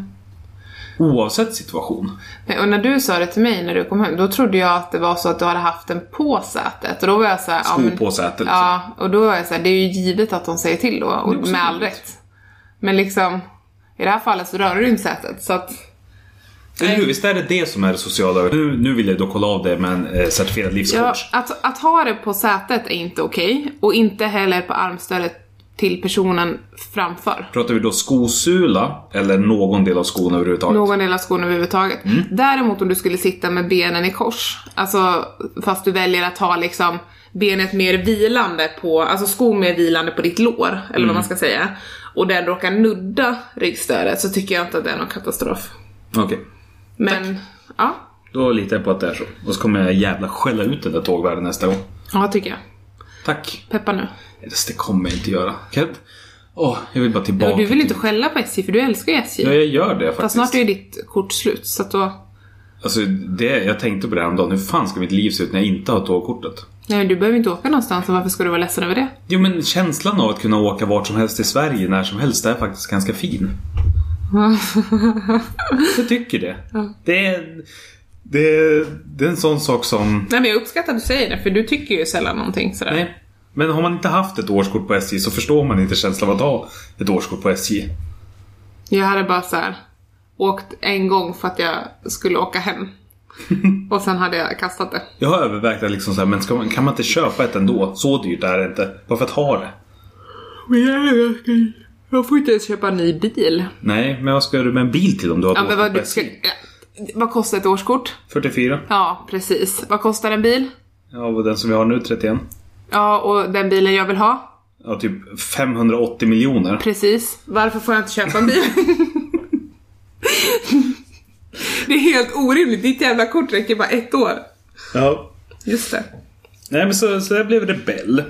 Speaker 4: Oavsett situation.
Speaker 2: Nej, Och när du sa det till mig när du kom hem, då trodde jag att det var så att du hade haft den på sätet. Och då var jag såhär...
Speaker 4: Sko på sätet. Liksom.
Speaker 2: Ja, och då var jag såhär, det är ju givet att de säger till då, och
Speaker 4: Det är också
Speaker 2: med all
Speaker 4: givet.
Speaker 2: rätt. Men liksom, i det här fallet så rörde du inte sätet, så att...
Speaker 4: Eller hur? Visst är det det som är det sociala? Nu, nu vill jag då kolla av det med en eh, certifierad
Speaker 2: Ja,
Speaker 4: livscoach.
Speaker 2: att, att ha det på sätet är inte okej, och inte heller på armstödet till personen framför.
Speaker 4: Pratar vi då skosula eller någon del av skon överhuvudtaget?
Speaker 2: Någon del av skon överhuvudtaget.
Speaker 4: Mm.
Speaker 2: Däremot om du skulle sitta med benen i kors, alltså fast du väljer att ha liksom benet mer vilande på, alltså skon mer vilande på ditt lår, eller
Speaker 4: Mm.
Speaker 2: vad man ska säga, och den råkar nudda ryggstödet så tycker jag inte att det är någon katastrof.
Speaker 4: Okej.
Speaker 2: Men, ja.
Speaker 4: Då litar jag på att det är så. Och så kommer jag jävla skälla ut den där tågvärden nästa gång.
Speaker 2: Ja, tycker jag.
Speaker 4: Tack.
Speaker 2: Peppa nu.
Speaker 4: Eller, Det kommer jag inte göra. Kan jag... inte- Åh, jag vill bara
Speaker 2: Ja,
Speaker 4: tillbaka.
Speaker 2: du vill ju inte
Speaker 4: till-
Speaker 2: skälla på SJ för du älskar ju SJ.
Speaker 4: Ja, jag gör det faktiskt.
Speaker 2: Fast snart är ju ditt kort slut så att då...
Speaker 4: Alltså, det, jag tänkte på det här om dagen. Hur fan ska mitt liv se ut när jag inte har tågkortet?
Speaker 2: Nej men du behöver inte åka någonstans så varför ska du vara ledsen över det?
Speaker 4: Jo, men känslan av att kunna åka vart som helst i Sverige när som helst är faktiskt ganska fin. jag tycker det. Det, är, det, är, det är en sån sak som...
Speaker 2: Nej men jag uppskattar att du säger det för du tycker ju sällan någonting sådär.
Speaker 4: Nej. Men har man inte haft ett årskort på SJ så förstår man inte känslan av att ha ett årskort på SJ.
Speaker 2: Jag hade bara så här åkt en gång för att jag skulle åka hem. Och sen hade jag kastat det.
Speaker 4: Jag har övervägt att liksom så här, men ska man, kan man inte köpa ett ändå? Så dyrt är det inte. Varför att ha det?
Speaker 2: Men jag, jag får inte ens köpa en ny bil.
Speaker 4: Nej, men vad ska du med en bil till om du har ett
Speaker 2: Ja, men
Speaker 4: årskort
Speaker 2: vad,
Speaker 4: på
Speaker 2: du ska,
Speaker 4: SJ?
Speaker 2: ja, vad kostar ett årskort?
Speaker 4: 44.
Speaker 2: Ja, precis. Vad kostar en bil?
Speaker 4: Ja, och den som vi har nu 31.
Speaker 2: Ja, och den bilen jag vill ha?
Speaker 4: Ja, typ 580 miljoner.
Speaker 2: Precis. Varför får jag inte köpa en bil? det är helt orimligt. Ditt jävla kort räcker bara ett år.
Speaker 4: Ja.
Speaker 2: Just det.
Speaker 4: Nej, men så, så jag blev rebell.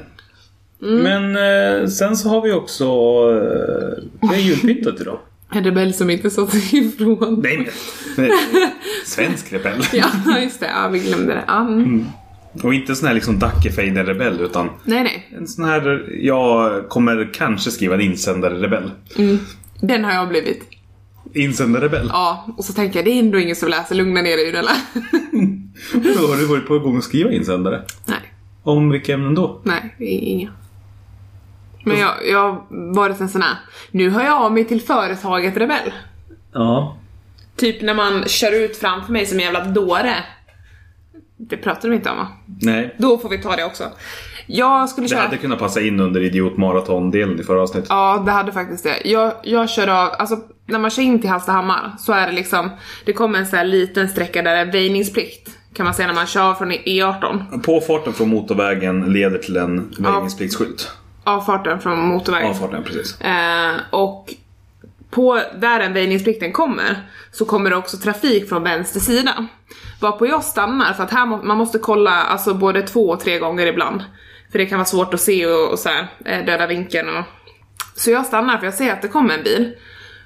Speaker 2: Mm.
Speaker 4: Men eh, sen så har vi också... Eh, det är julpyntat idag.
Speaker 2: En rebell som inte sa ifrån.
Speaker 4: Nej, men... nej. Svensk rebell.
Speaker 2: Ja, just det. Ja, vi glömde det. Ja, mm.
Speaker 4: Och inte sån här liksom Dackefejden-rebell utan
Speaker 2: Nej, nej.
Speaker 4: en sån här, jag kommer kanske skriva en insändare-rebell.
Speaker 2: Den har jag blivit.
Speaker 4: Insändare-rebell.
Speaker 2: Ja, och så tänker jag det är ändå ingen som läser. Lugna ner dig Gunilla.
Speaker 4: Då har du varit på gång att skriva insändare.
Speaker 2: nej,
Speaker 4: Om vilka ämnen då?
Speaker 2: nej, det är inga. Men jag, jag har varit en sån här, nu hör jag av mig till företaget Rebell.
Speaker 4: Ja.
Speaker 2: Typ när man kör ut framför mig som en jävla dåre. Det pratar de inte om va?
Speaker 4: Nej.
Speaker 2: Då får vi ta det också. Jag skulle
Speaker 4: Det
Speaker 2: köra...
Speaker 4: hade kunnat passa in under idiotmaratondelen i förra avsnittet.
Speaker 2: Ja, det hade faktiskt det. Jag, jag kör av, alltså när man kör in till Hallstahammar så är det liksom, det kommer en sån här liten sträcka där det är väjningsplikt. Kan man säga när man kör från E18.
Speaker 4: Påfarten från motorvägen leder till en väjningspliktsskylt.
Speaker 2: Avfarten från motorvägen.
Speaker 4: Avfarten, precis.
Speaker 2: Eh, och på där den väjningsplikten kommer så kommer det också trafik från vänster sida. Varpå jag stannar för att här må, man måste kolla alltså både två och tre gånger ibland. För det kan vara svårt att se och, och så här, eh, döda vinkeln och... Så jag stannar för jag ser att det kommer en bil.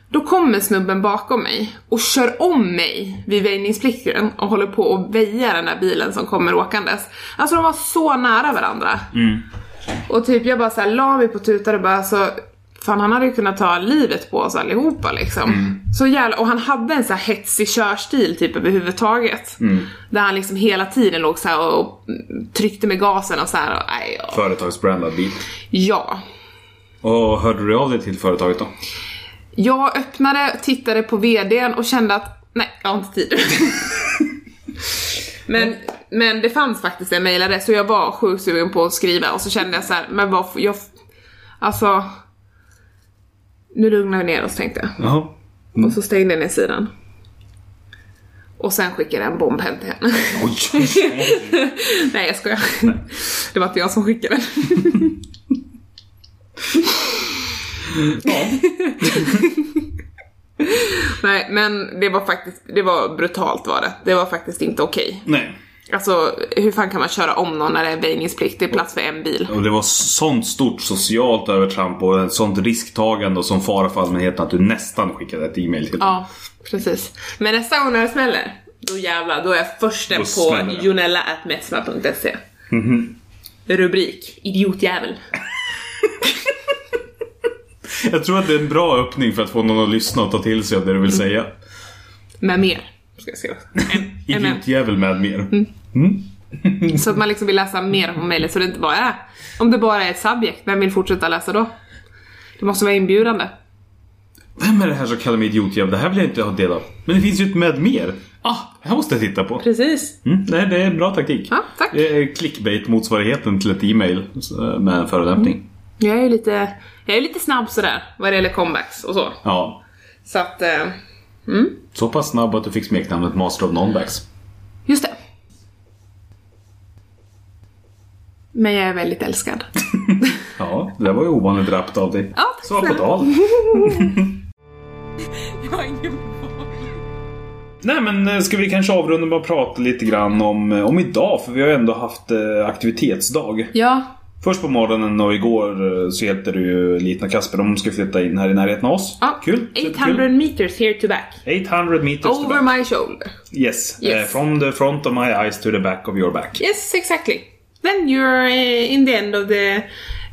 Speaker 2: Då kommer snubben bakom mig och kör om mig vid väjningsplikten och håller på och väja den där bilen som kommer åkandes. Alltså de var så nära varandra. Och typ jag bara såhär la mig på tutar och bara så Fan han hade ju kunnat ta livet på oss allihopa liksom. Så jävla, och han hade en så här hetsig körstil typ överhuvudtaget. Där han liksom hela tiden låg så här och, och tryckte med gasen och så här. Och, nej, ja.
Speaker 4: Företagsbrandad bil.
Speaker 2: ja.
Speaker 4: Och hörde du av dig till företaget då?
Speaker 2: Jag öppnade, tittade på VDn och kände att nej, jag har inte tid. men, men det fanns faktiskt en mejladress så jag var sjukt sugen på att skriva och så kände jag så här, men vad, får jag, alltså, nu lugnar vi ner oss tänkte jag.
Speaker 4: Jaha.
Speaker 2: Och så stängde jag ner sidan. Och sen skickade jag en bomb hem till henne.
Speaker 4: Oj!
Speaker 2: Nej jag skojar. Det var inte jag som skickade den. Nej men det var faktiskt, det var brutalt var det. Det var faktiskt inte okej.
Speaker 4: Nej.
Speaker 2: Alltså hur fan kan man köra om någon när det är väjningsplikt? Det är plats för en bil.
Speaker 4: Och det var sånt stort socialt övertramp och ett sånt risktagande och sån fara för allmänheten att du nästan skickade ett e-mail till dem.
Speaker 2: Ja, precis. Men nästa gång när det smäller, då jävlar, då är jag försten
Speaker 4: Då
Speaker 2: på
Speaker 4: smäller det. Mhm.
Speaker 2: jonella.metsma.se. Rubrik, idiotjävel.
Speaker 4: Jag tror att det är en bra öppning för att få någon att lyssna och ta till sig av det du
Speaker 2: Mm.
Speaker 4: vill säga.
Speaker 2: Med mer. Ska jag skriva. Mm.
Speaker 4: Idiotjävel med mer.
Speaker 2: Så att man liksom vill läsa mer om mejlet så det inte bara är. Om det bara är ett subjekt, vem vill fortsätta läsa då? Det måste vara inbjudande.
Speaker 4: Vem är det här som kallar mig idiotjävel? Det här vill jag inte ha del av. Men det finns ju ett med mer. Ah, det här måste jag titta på.
Speaker 2: Precis.
Speaker 4: Mm, nej, det är en bra taktik.
Speaker 2: Ja, tack.
Speaker 4: Det är clickbait-motsvarigheten till ett e-mail så, med en förolämpning.
Speaker 2: Mm. Jag är ju lite, jag är lite snabb sådär vad det gäller comebacks och så.
Speaker 4: Ja.
Speaker 2: Så att, eh,
Speaker 4: Så pass snabb att du fick smeknamnet Master of Nonbacks.
Speaker 2: just det. Men jag är väldigt älskad.
Speaker 4: Ja, det där var ju ovanligt rappt av dig.
Speaker 2: Ja, tack
Speaker 4: Svar på
Speaker 2: snälla.
Speaker 4: tal. Nej men eh, ska vi kanske avrunda med att prata lite grann om, eh, om idag för vi har ju ändå haft eh, aktivitetsdag.
Speaker 2: Ja,
Speaker 4: Först på morgonen och igår eh, så hjälpte du ju Liten och Kasper. De ska flytta in här i närheten av oss.
Speaker 2: ja.
Speaker 4: Kul! superkul.
Speaker 2: 800 meters here to back.
Speaker 4: 800 meters to
Speaker 2: Over
Speaker 4: back.
Speaker 2: my shoulder.
Speaker 4: Yes.
Speaker 2: Yes.
Speaker 4: Eh, from the front of my eyes to the back of your back.
Speaker 2: Yes, exactly. Then you're eh, in the end of the,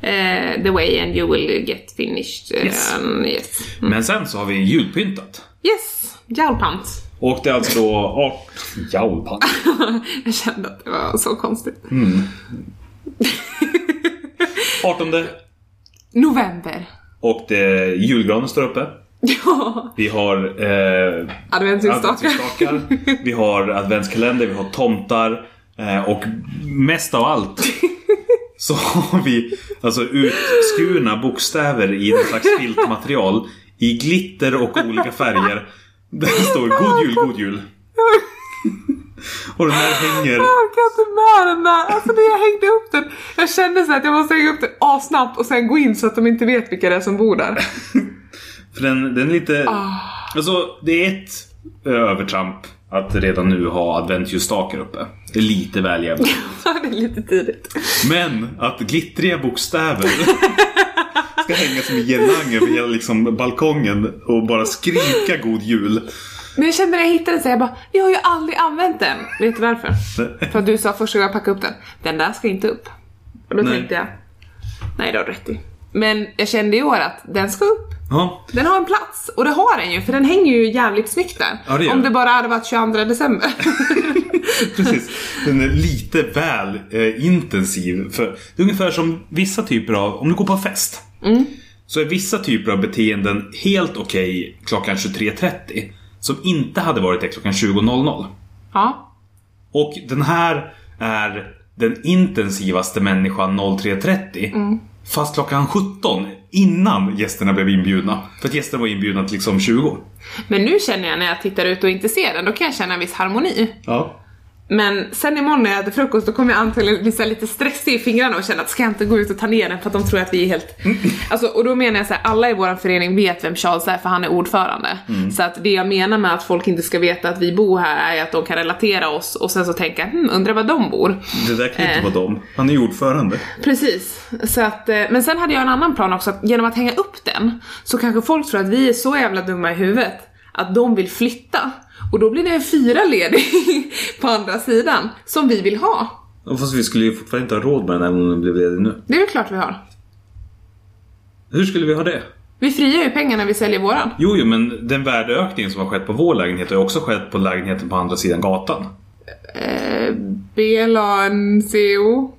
Speaker 2: eh, the way and you will get finished. eh,
Speaker 4: Yes.
Speaker 2: um, yes.
Speaker 4: Men sen så har vi julpyntat.
Speaker 2: Yes, jalpant.
Speaker 4: Och det är alltså då... art- Jaulepant.
Speaker 2: Jag kände att det var så konstigt.
Speaker 4: 18
Speaker 2: November.
Speaker 4: och det, julgranen står uppe.
Speaker 2: Ja,
Speaker 4: Vi har eh,
Speaker 2: adventsljusstakar.
Speaker 4: adventsljusstakar. Vi har adventskalender, vi har tomtar. Eh, och mest av allt så har vi alltså utskurna bokstäver i någon slags filtmaterial. I glitter och olika färger. Där det står God Jul, God Jul. Och den här hänger.
Speaker 2: Jag kan inte med den där. Alltså när jag hängde upp den. Jag kände så här att jag måste hänga upp den assnabbt och sen gå in så att de inte vet vilka det är som bor där.
Speaker 4: För den, den är lite... Alltså det är ett övertramp att redan nu ha adventljusstakar uppe. Det är lite väl jävligt.
Speaker 2: det är lite tidigt.
Speaker 4: Men att glittriga bokstäver ska hänga som en girlang över hela liksom balkongen och bara skrika god jul.
Speaker 2: Men jag kände när jag hittade den så här, jag bara, jag har ju aldrig använt den. Vet du varför? För att du sa första gången jag packade upp den, den där ska inte upp. Och då
Speaker 4: Nej.
Speaker 2: tänkte jag, nej det har du rätt i. Men jag kände i år att den ska upp.
Speaker 4: Ja,
Speaker 2: Den har en plats, och det har den ju för den hänger ju jävligt snyggt där.
Speaker 4: Ja, det gör
Speaker 2: Om det
Speaker 4: den.
Speaker 2: bara hade varit 22 december.
Speaker 4: precis. Den är lite väl eh, intensiv. För det är ungefär som vissa typer av, om du går på en fest. Så är vissa typer av beteenden helt okej klockan 23.30. Som inte hade varit det klockan 20.00.
Speaker 2: ja,
Speaker 4: Och den här är den intensivaste människan 03.30. Fast klockan 17 innan gästerna blev inbjudna. För att gästerna var inbjudna till liksom 20.
Speaker 2: men nu känner jag när jag tittar ut och inte ser den, då kan jag känna en viss harmoni.
Speaker 4: Ja.
Speaker 2: Men sen imorgon när jag äter frukost då kommer jag antagligen bli så här lite stressig i fingrarna och känna att ska jag inte gå ut och ta ner den för att de tror att vi är helt... Alltså, och då menar jag så här, alla i vår förening vet vem Charles är för han är ordförande. Så att det jag menar med att folk inte ska veta att vi bor här är att de kan relatera oss och sen så tänka, hm, undrar var de bor.
Speaker 4: Det där kan ju
Speaker 2: Eh.
Speaker 4: inte vara dem. Han är ju ordförande.
Speaker 2: Precis. Så att, eh, men sen hade jag en annan plan också, att genom att hänga upp den så kanske folk tror att vi är så jävla dumma i huvudet att de vill flytta. Och då blir det en fyra ledig på andra sidan som vi vill ha.
Speaker 4: Ja, Fast vi skulle ju fortfarande inte ha råd med den även om den blev ledig nu.
Speaker 2: Det är väl klart vi har.
Speaker 4: Hur skulle vi ha det?
Speaker 2: Vi frigör ju pengar när vi säljer våran.
Speaker 4: Jo, jo, men den värdeökningen som har skett på vår lägenhet har ju också skett på lägenheten på andra sidan gatan.
Speaker 2: Eh, BLANCO.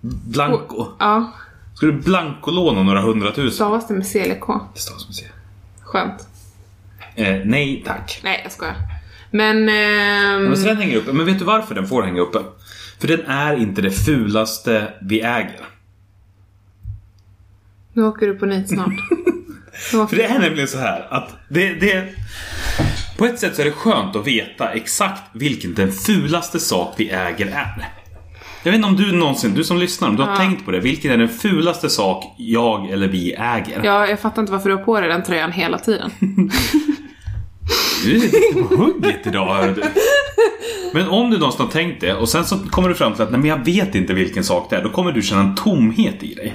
Speaker 4: Blanco.
Speaker 2: Ja,
Speaker 4: Ska du blankolåna några hundratusen?
Speaker 2: stavas det med C eller K?
Speaker 4: Det stavas med C.
Speaker 2: Skönt.
Speaker 4: Eh, nej tack.
Speaker 2: Nej, jag skojar. Men... ehm,
Speaker 4: Men så den hänger uppe. Men vet du varför den får hänga uppe? För den är inte det fulaste vi äger.
Speaker 2: nu åker du på nit snart. Nu åker
Speaker 4: För det är nämligen så här att det, det... På ett sätt så är det skönt att veta exakt vilken den fulaste sak vi äger är. Jag vet inte om du någonsin, du som lyssnar, om du har tänkt på det. Vilken är den fulaste sak jag eller vi äger?
Speaker 2: Ja, jag fattar inte varför du har på dig den tröjan hela tiden.
Speaker 4: Du är lite på hugget idag hör du. Men om du någonstans har tänkt det och sen så kommer du fram till att nej men jag vet inte vilken sak det är. Då kommer du känna en tomhet i dig.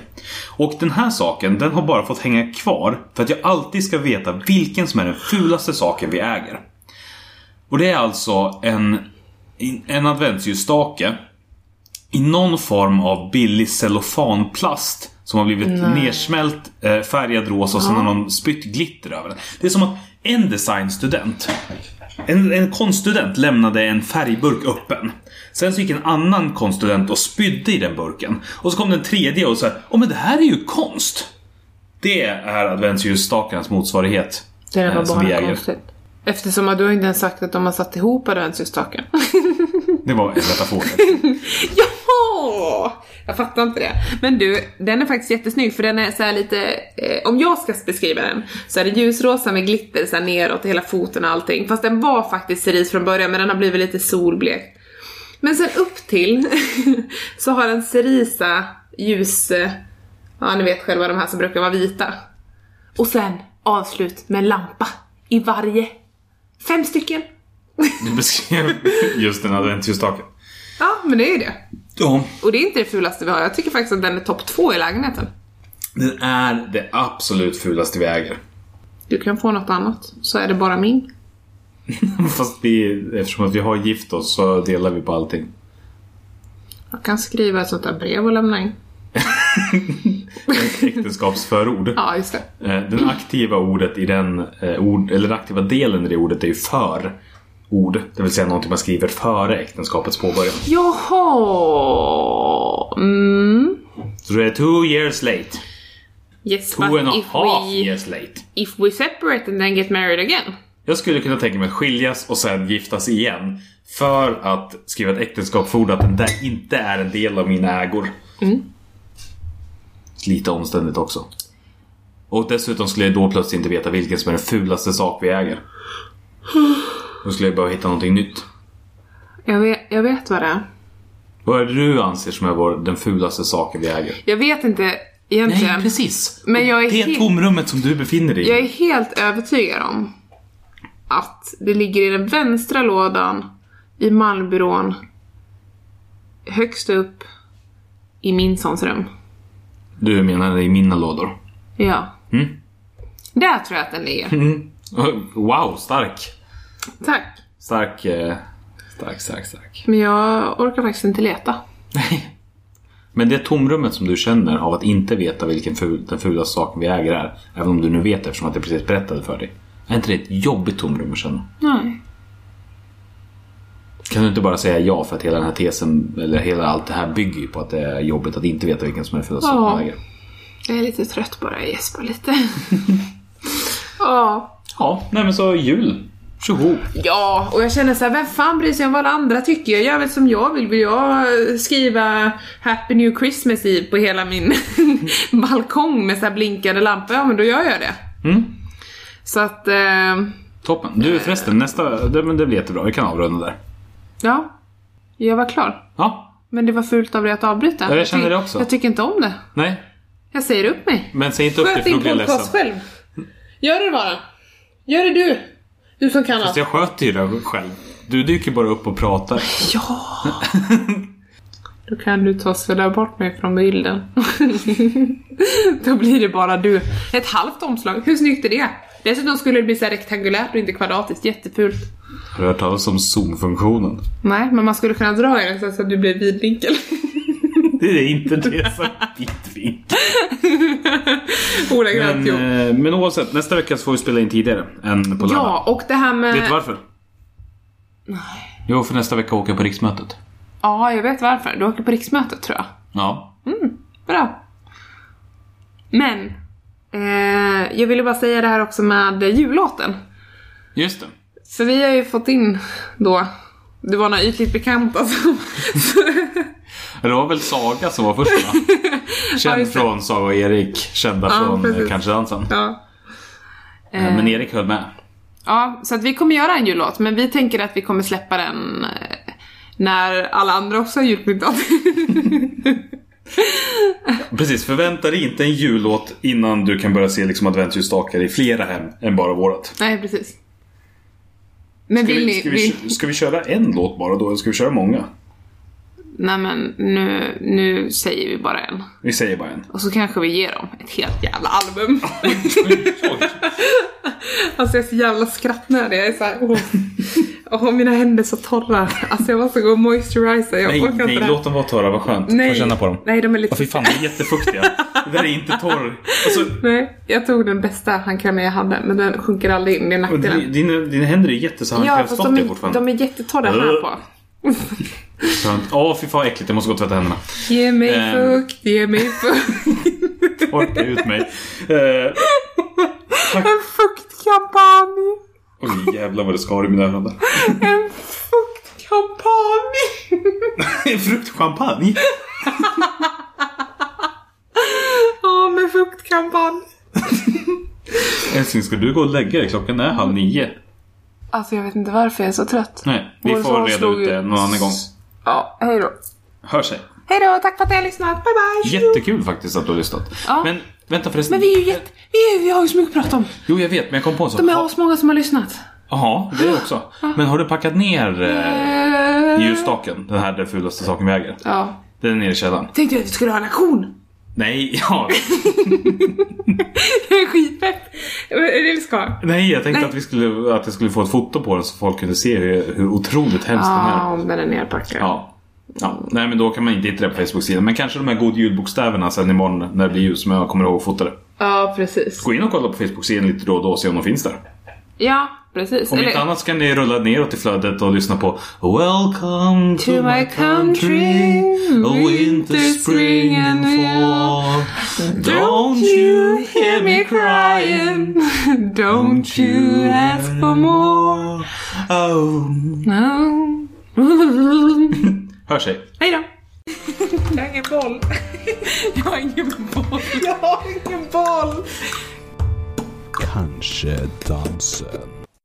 Speaker 4: Och den här saken den har bara fått hänga kvar för att jag alltid ska veta vilken som är den fulaste saken vi äger. Och det är alltså en, en adventsljusstake i någon form av billig cellofanplast som har blivit nersmält, eh, färgad rosa och sen har någon spytt glitter över den. Det är som att en designstudent, en, en konststudent lämnade en färgburk öppen. Sen så gick en annan konststudent och spydde i den burken. Och så kom den tredje och sa Åh men det här är ju konst! Det är adventsljusstakens motsvarighet.
Speaker 2: Det där
Speaker 4: eh,
Speaker 2: var
Speaker 4: som vi
Speaker 2: bara
Speaker 4: äger.
Speaker 2: konstigt. Eftersom att du har inte ens sagt att de har satt ihop adventsljusstaken.
Speaker 4: Det var en metafor.
Speaker 2: Jaha! Jag fattar inte det. Men du, den är faktiskt jättesnygg för den är så här lite, eh, om jag ska beskriva den, så är det ljusrosa med glitter så här neråt i hela foten och allting. Fast den var faktiskt cerise från början men den har blivit lite solblekt. Men sen upp till så har den cerisa ljus, eh, ja ni vet själva de här som brukar vara vita. Och sen avslut med lampa i varje. Fem stycken.
Speaker 4: Du beskrev just den adventsljusstaken.
Speaker 2: Ja, men det är ju det.
Speaker 4: Ja.
Speaker 2: Och det är inte det fulaste vi har. Jag tycker faktiskt att den är topp två i lägenheten.
Speaker 4: Den är det absolut fulaste vi äger.
Speaker 2: Du kan få något annat, så är det bara min.
Speaker 4: Fast vi, eftersom att vi har gift oss så delar vi på allting.
Speaker 2: Jag kan skriva ett sånt där brev och lämna in.
Speaker 4: Ett Äktenskapsförord.
Speaker 2: Ja, just det.
Speaker 4: Eh, Den aktiva ordet i den, eh, ord, eller den aktiva delen i det ordet är ju för ord. Det vill säga någonting man skriver före äktenskapets påbörjan.
Speaker 2: Jaha! Mm.
Speaker 4: Så det är two years late.
Speaker 2: Yes,
Speaker 4: Two and
Speaker 2: but
Speaker 4: a
Speaker 2: if
Speaker 4: half
Speaker 2: we,
Speaker 4: years late.
Speaker 2: if we separate and then get married again.
Speaker 4: Jag skulle kunna tänka mig att skiljas och sen giftas igen. För att skriva ett äktenskapsförord att den där inte är en del av mina ägor. Mm. Lite omständigt också. Och dessutom skulle jag då plötsligt inte veta vilken som är den fulaste sak vi äger. Då skulle jag behöva hitta någonting nytt.
Speaker 2: Jag vet, jag vet vad det är.
Speaker 4: Vad är det du anser som är vår, den fulaste saken vi äger?
Speaker 2: Jag vet inte egentligen.
Speaker 4: Nej, precis!
Speaker 2: Men jag är
Speaker 4: det
Speaker 2: helt-
Speaker 4: tomrummet som du befinner dig i.
Speaker 2: Jag är helt övertygad om att det ligger i den vänstra lådan i malmbyrån högst upp i min sons rum.
Speaker 4: Du menar i mina lådor?
Speaker 2: Ja.
Speaker 4: Mm.
Speaker 2: Där tror jag att den ligger.
Speaker 4: Mm. Wow, stark!
Speaker 2: Tack.
Speaker 4: Stark, eh, stark, stark, stark.
Speaker 2: Men jag orkar faktiskt inte leta.
Speaker 4: Nej. Men det tomrummet som du känner av att inte veta vilken ful, den fulaste saken vi äger är, även om du nu vet det eftersom att jag precis berättade för dig. Är inte det ett jobbigt tomrum att känna?
Speaker 2: Nej.
Speaker 4: Kan du inte bara säga ja för att hela den här tesen, eller hela allt det här bygger ju på att det är jobbigt att inte veta vilken som är den fulaste
Speaker 2: Ja.
Speaker 4: saken man äger.
Speaker 2: Jag är lite trött bara. Jag gäspar lite. ja.
Speaker 4: Ja, nej men så jul. Tjoho!
Speaker 2: Ja, och jag känner så här, vem fan bryr sig om vad alla andra tycker? Jag gör väl som jag vill. Vill jag eh, skriva Happy New Christmas Eve på hela min balkong med så här blinkande lampor? Ja, men då gör jag det.
Speaker 4: Mm.
Speaker 2: Så att, eh,
Speaker 4: Toppen. Du förresten, nästa, det, men det blir jättebra. Vi kan avrunda där.
Speaker 2: ja. Jag var klar.
Speaker 4: Ja,
Speaker 2: Men det var fult av dig att avbryta.
Speaker 4: Ja, jag känner
Speaker 2: tyck-
Speaker 4: det också.
Speaker 2: Jag tycker inte om det.
Speaker 4: nej.
Speaker 2: Jag säger upp mig.
Speaker 4: Men säg inte upp det
Speaker 2: Sköt
Speaker 4: för då
Speaker 2: din
Speaker 4: blir jag
Speaker 2: podcast
Speaker 4: ledsen.
Speaker 2: själv. Gör det bara. Gör det du. Du som kan allt.
Speaker 4: Fast jag sköter ju det själv. Du dyker bara upp och pratar.
Speaker 2: Ja! Då kan du ta och svälla bort mig från bilden. Då blir det bara du. Ett halvt omslag, hur snyggt är det? Dessutom skulle det bli så här rektangulärt och inte kvadratiskt, jättefult.
Speaker 4: Har du hört talas om zoom-funktionen?
Speaker 2: Nej, men man skulle kunna dra i den så att- så att du blir vidvinkel.
Speaker 4: Det är inte det som ditt vinkel.
Speaker 2: Ordagrant
Speaker 4: Men,
Speaker 2: jo.
Speaker 4: eh, men oavsett, nästa vecka så får vi spela in tidigare än på lördag.
Speaker 2: Ja, eh, och det här med...
Speaker 4: Vet du varför? Nej. Jo, för nästa vecka åker jag på riksmötet.
Speaker 2: Ja, jag vet varför. Du åker på riksmötet tror jag.
Speaker 4: Ja.
Speaker 2: Bra. Men, eh, jag ville bara säga det här också med jullåten.
Speaker 4: Just det.
Speaker 2: För vi har ju fått in då, det var några ytligt alltså. bekanta som...
Speaker 4: Det var väl Saga som var först va?
Speaker 2: Ja,
Speaker 4: Känd
Speaker 2: just det.
Speaker 4: från Saga och Erik. Kända
Speaker 2: Ja,
Speaker 4: från
Speaker 2: precis.
Speaker 4: eh, Kanske dansen.
Speaker 2: ja.
Speaker 4: Eh, Men Erik höll med.
Speaker 2: ja, så att vi kommer göra en jullåt, men vi tänker att vi kommer släppa den eh, när alla andra också har julpyntat.
Speaker 4: Precis, förvänta dig inte en jullåt innan du kan börja se liksom adventsljusstakar i flera hem än bara vårat.
Speaker 2: Nej, precis. Men
Speaker 4: Ska
Speaker 2: vill
Speaker 4: vi,
Speaker 2: ni...
Speaker 4: ska,
Speaker 2: vill-
Speaker 4: vi, kö- ska vi köra en låt bara då, eller ska vi köra många?
Speaker 2: Nej men nu, nu säger vi bara en.
Speaker 4: Vi säger bara en.
Speaker 2: Och så kanske vi ger dem ett helt jävla album. Alltså jag är så jävla skrattnödig. Jag är såhär, åh. åh, mina händer är så torra. Alltså jag måste gå och moisturiza. Jag
Speaker 4: Nej,
Speaker 2: orkar inte
Speaker 4: nej
Speaker 2: det här.
Speaker 4: låt dem vara torra, vad skönt. Får jag känna på dem.
Speaker 2: Nej, de är lite...
Speaker 4: Ja, fy fan, de är jättefuktiga. Det där är inte torr. Alltså,
Speaker 2: Nej, jag tog den bästa handkrämen jag hade, men den sjunker aldrig in. Det är
Speaker 4: och
Speaker 2: nackdelen.
Speaker 4: di- dina, dina händer är
Speaker 2: Ja, fast de
Speaker 4: jättehandkrämsfattiga
Speaker 2: är,
Speaker 4: fortfarande.
Speaker 2: de är jättetorra här på.
Speaker 4: Skönt. Ja, fy fan vad äckligt. Jag måste gå och tvätta händerna.
Speaker 2: Ge mig
Speaker 4: Ehm.
Speaker 2: fukt, ge mig fukt.
Speaker 4: Torka ut mig. Eh,
Speaker 2: En fuktkampanj!
Speaker 4: Oj, jävlar vad det skar i mina öron där.
Speaker 2: En fuktkampanj!
Speaker 4: Fruktchampagne?
Speaker 2: Ja, med fuktkampanj.
Speaker 4: Älskling, ska du gå och lägga dig? Klockan är halv nio.
Speaker 2: Alltså jag vet inte varför jag är så trött.
Speaker 4: Nej, vi
Speaker 2: Vår son
Speaker 4: får reda
Speaker 2: slog
Speaker 4: ut det
Speaker 2: ut.
Speaker 4: någon annan gång.
Speaker 2: Ja, hej då.
Speaker 4: Hör sig.
Speaker 2: Hej då, tack för att ni har lyssnat. Bye bye.
Speaker 4: Jättekul faktiskt att du har lyssnat.
Speaker 2: Ja.
Speaker 4: Men vänta förresten.
Speaker 2: Men vi är ju jätte... Vi, är, vi har ju så mycket att prata om.
Speaker 4: Jo, jag vet, men jag kom på en sak.
Speaker 2: De är
Speaker 4: Ha-
Speaker 2: asmånga som har lyssnat.
Speaker 4: Jaha, det också. Men har du packat ner eh, ljusstaken? Den här den fulaste saken vi äger.
Speaker 2: Ja.
Speaker 4: Den är nere i källaren.
Speaker 2: Tänkte jag att vi skulle ha en auktion.
Speaker 4: Nej, ja.
Speaker 2: Skitpepp. Är det ska ha?
Speaker 4: Nej, jag tänkte
Speaker 2: Nej.
Speaker 4: att, vi skulle, att jag skulle få ett foto på den så folk kunde se hur, hur otroligt hemskt den är.
Speaker 2: Ja, den är nerpackad.
Speaker 4: Ja. ja. Nej, men då kan man inte hitta det på Facebook-sidan. Men kanske de här god ljud-bokstäverna sen imorgon när det blir ljus som jag kommer ihåg att fota det.
Speaker 2: Ja, precis.
Speaker 4: Gå in och kolla på Facebook-sidan lite då och då och se om de finns där.
Speaker 2: Ja, precis.
Speaker 4: Om
Speaker 2: Eller-
Speaker 4: inte annat så kan ni rulla neråt i flödet och lyssna på Welcome to,
Speaker 2: To my
Speaker 4: my country A winter, spring and fall Don't you hear me crying
Speaker 2: Don't you ask for more.
Speaker 4: Oh.
Speaker 2: No.
Speaker 4: Hör sig.
Speaker 2: Hej då. Jag har ingen boll. Jag har ingen boll.
Speaker 1: Jag har ingen boll!
Speaker 3: Kanske dansen.